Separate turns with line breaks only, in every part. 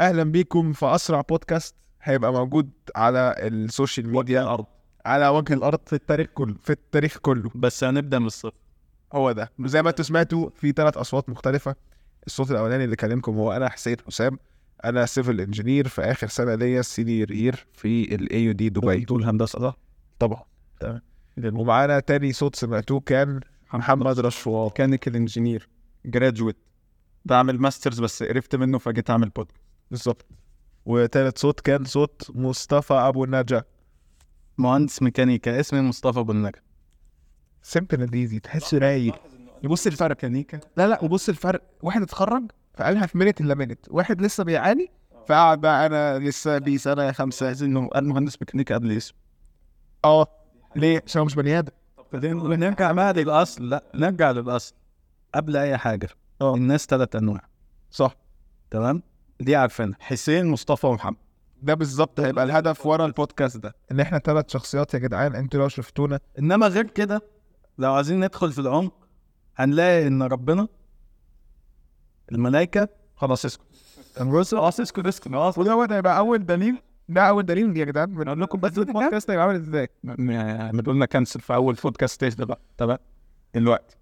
اهلا بيكم في اسرع بودكاست هيبقى موجود على السوشيال ميديا
الارض
على وجه الارض في التاريخ كله في التاريخ كله
بس هنبدا من الصفر
هو ده زي ما انتوا سمعتوا في ثلاث اصوات مختلفه الصوت الاولاني اللي كلمكم هو انا حسين حسام انا سيفل انجينير في اخر سنه ليا سينيور يير في الاي يو دي دبي
دول هندسه صح؟
طبعا
تمام.
ومعانا تاني صوت سمعتوه كان محمد رشوان
ميكانيكال انجينير جرادويت بعمل ماسترز بس قرفت منه فجيت اعمل بودكاست
بالظبط وتالت صوت كان صوت مصطفى ابو النجا
مهندس ميكانيكا اسمي مصطفى ابو النجا
سيمبل اند ايزي تحس رايق
بص الفرق ميكانيكا
لا لا وبص الفرق واحد اتخرج فقالها في منت الا منت واحد لسه بيعاني فقعد بقى انا لسه بي سنه خمسه
عايز انه قال مهندس ميكانيكا قبل اسمه
اه ليه عشان هو مش بني ادم
بعدين نرجع بقى للاصل لا نرجع للاصل قبل اي حاجه
آه.
الناس ثلاث انواع
صح
تمام دي عارفينها حسين مصطفى ومحمد
ده بالظبط هيبقى طيب، الهدف ورا البودكاست ده ان احنا ثلاث شخصيات يا جدعان انتوا لو شفتونا
انما غير كده لو عايزين ندخل في العمق هنلاقي ان ربنا الملائكه خلاص اسكت الرسل خلاص اسكت اسكت خلاص
وده هو ده هيبقى اول دليل ده اول دليل يا جدعان بنقول لكم بس البودكاست هيبقى عامل ازاي
احمد قلنا كانسل في اول بودكاست ده بقى تمام دلوقتي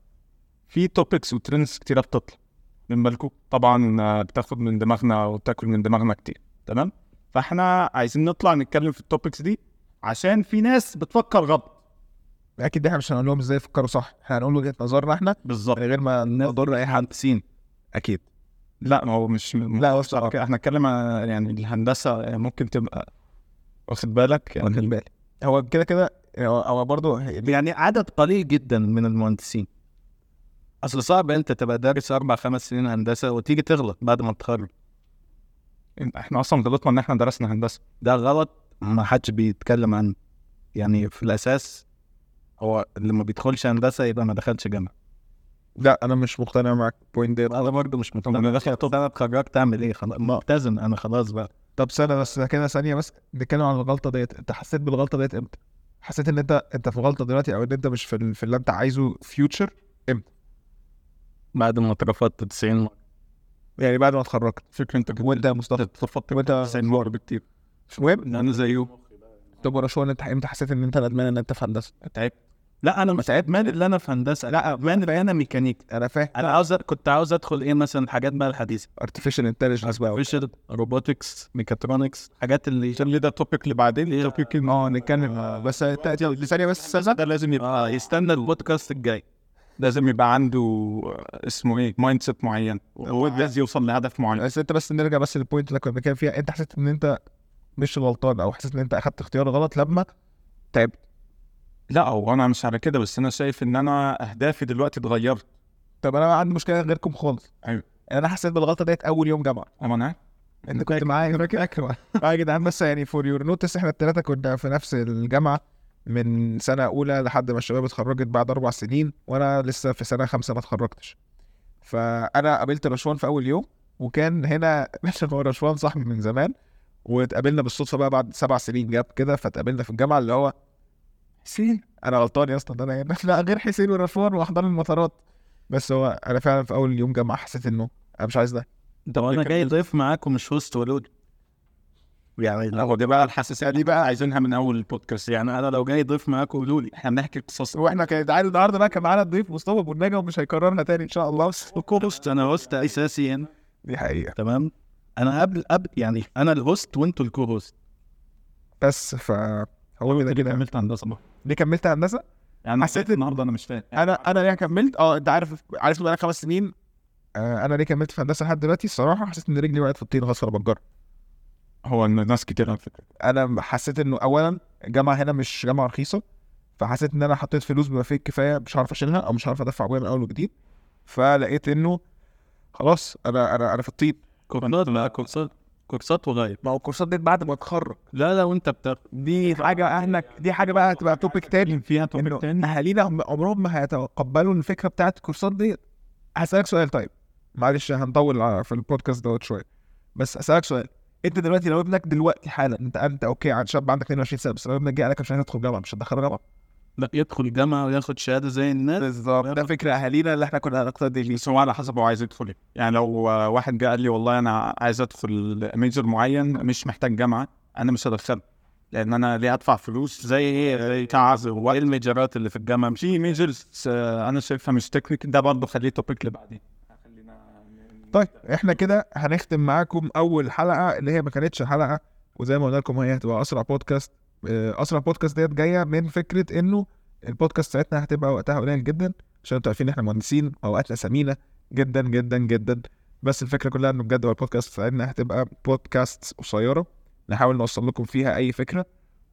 في توبكس وترندز كتيره بتطلع من بالكم طبعا آه، بتاخد من دماغنا وبتاكل من دماغنا كتير تمام فاحنا عايزين نطلع نتكلم في التوبكس دي عشان في ناس بتفكر غلط
اكيد احنا مش هنقول لهم ازاي يفكروا صح احنا هنقول وجهه نظرنا احنا
بالظبط
من غير ما نضر اي حد
مهندسين اكيد لا ما هو مش
لا هو
طب
الصراحه
احنا نتكلم عن- يعني الهندسه ممكن تبقى واخد بالك يعني
واخد بالي هو كده كده هو- هو برضه
يعني عدد قليل جدا من المهندسين اصل صعب انت تبقى دارس اربع خمس سنين هندسه وتيجي تغلط بعد ما تتخرج احنا اصلا غلطنا ان احنا درسنا هندسه ده غلط ما حدش بيتكلم عنه يعني في الاساس هو اللي ما بيدخلش هندسه يبقى ما دخلش جامعه
لا انا مش مقتنع معاك بوينت ده
انا برضه مش متفق
أنا
انا داخل انا اتخرجت اعمل ايه خلاص ملتزم انا خلاص بقى
طب سنة بس كده ثانية بس نتكلم عن الغلطة ديت، أنت حسيت بالغلطة ديت إمتى؟ حسيت إن أنت أنت في غلطة دلوقتي أو إن أنت مش في, ال... في اللي أنت عايزه فيوتشر
بعد ما اترفضت 90 مره
يعني بعد ما اتخرجت
فكرة انت
وأنت يا مصطفى
اترفضت
وأنت
90 مره بكتير
مش مهم
انا زيه
طب ورا شوية أنت إمتى حسيت إن أنت ندمان إن أنت في هندسة؟
تعبت لا انا مش تعبت مال اللي انا في هندسه لا مال اللي انا ميكانيك
أنا فاهم
انا عاوز كنت عاوز ادخل ايه مثلا حاجات بقى الحديثه
أرتفيشال انتليجنس بقى
فيشل روبوتكس ميكاترونكس حاجات اللي اللي ده توبيك اللي بعدين توبيك
أه
آه.
نتكلم بس أنت- ثانية بس سنة
ده لازم يبقى يستنى البودكاست الجاي لازم يبقى عنده اسمه ايه مايند سيت معين هو لازم يوصل لهدف معين
بس أنت بس نرجع بس للبوينت اللي كنا بنتكلم فيها أنت حسيت إن أنت مش غلطان أو حسيت إن أنت أخدت اختيار غلط لما تعبت
لا هو انا مش على كده بس انا شايف ان انا اهدافي دلوقتي اتغيرت
طب أنا عندي مشكلة غيركم خالص
أيوه.
أنا حسيت بالغلطة ديت أول يوم جامعة
اما انا
انت كنت معايا فاكر اه يا جدعان بس يعني فور يور نوتس احنا الثلاثه كنا في نفس الجامعه من سنه اولى لحد ما الشباب اتخرجت بعد اربع سنين وانا لسه في سنه خمسه ما اتخرجتش فانا قابلت رشوان في اول يوم وكان هنا عشان هو رشوان صاحبي من زمان واتقابلنا بالصدفه بقى بعد سبع سنين جاب كده فاتقابلنا في الجامعه اللي هو حسين انا غلطان يا اسطى ده انا هنا لا غير حسين ورشوان واحضان المطارات بس هو انا فعلا في اول يوم جامعه حسيت انه انا مش عايز ده
طب انا جاي ضيف معاكم مش وسط ولود يعني هو دي بقى الحساسيه دي بقى عايزينها من اول البودكاست يعني انا لو جاي ضيف معاكم قولوا لي احنا بنحكي قصص
واحنا كان تعالوا النهارده بقى كان معانا الضيف مصطفى ابو النجا ومش هيكررها تاني ان شاء الله
وكوست انا هوست اساسي هنا
دي حقيقه
يعني، تمام انا قبل قبل يعني انا الهوست وانتوا الكو هوست
بس ف هو كده كده
عملت هندسه بقى
ليه كملت هندسه؟
يعني
حسيت
حسيت النهارده انا مش فاهم
انا انا ليه كملت؟ اه انت عارف عارف إن انا خمس سنين آه انا ليه كملت في هندسه لحد دلوقتي الصراحه حسيت ان رجلي وقعت في الطين خلاص وانا بتجرب
هو الناس كتير على فكره
انا حسيت انه اولا الجامعه هنا مش جامعه رخيصه فحسيت ان انا حطيت فلوس بما فيه الكفايه مش عارف اشيلها او مش عارف ادفع ابويا من اول وجديد فلقيت انه خلاص انا انا انا في الطين
كورسات بقى كورسات كورسات وغير
ما هو الكورسات ديت بعد ما اتخرج
لا لا وانت بتاخد
دي حاجه احنا دي حاجه بقى هتبقى توبيك تاني
فيها
إنه
توبيك تاني
اهالينا هم- عمرهم ما هيتقبلوا الفكره بتاعت الكورسات دي هسالك سؤال طيب معلش هنطول ع- في البودكاست دوت شويه بس هسالك سؤال انت دلوقتي لو ابنك دلوقتي حالا انت انت اوكي عن شاب عندك 22 سنه بس لو ابنك جه قالك مش عايز ادخل جامعه مش هتدخله جامعه
لا يدخل الجامعه وياخد شهاده زي الناس
بالظبط ده فكر اهالينا اللي احنا كنا هنقتدي بيه
بس هو على حسب هو عايز يدخل ايه يعني لو واحد جه قال لي والله انا عايز ادخل ميجر معين مش محتاج جامعه انا مش هدخله لان انا ليه ادفع فلوس إيه؟
زي ايه زي
كعز إيه
وايه الميجرات اللي في الجامعه مش
في ميجرز آه، انا شايفها مش تكنيك ده برضه خليه توبيك لبعدين
طيب احنا كده هنختم معاكم اول حلقه اللي هي ما كانتش حلقه وزي ما قلنا لكم هي هتبقى اسرع بودكاست آه، اسرع بودكاست ديت جايه من فكره انه البودكاست ساعتنا هتبقى وقتها قليل جدا عشان انتوا عارفين احنا مهندسين اوقاتنا ثمينه جدا جدا جدا بس الفكره كلها انه بجد هو البودكاست بتاعتنا هتبقى بودكاست قصيره نحاول نوصل لكم فيها اي فكره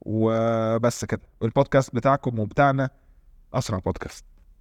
وبس كده البودكاست بتاعكم وبتاعنا اسرع بودكاست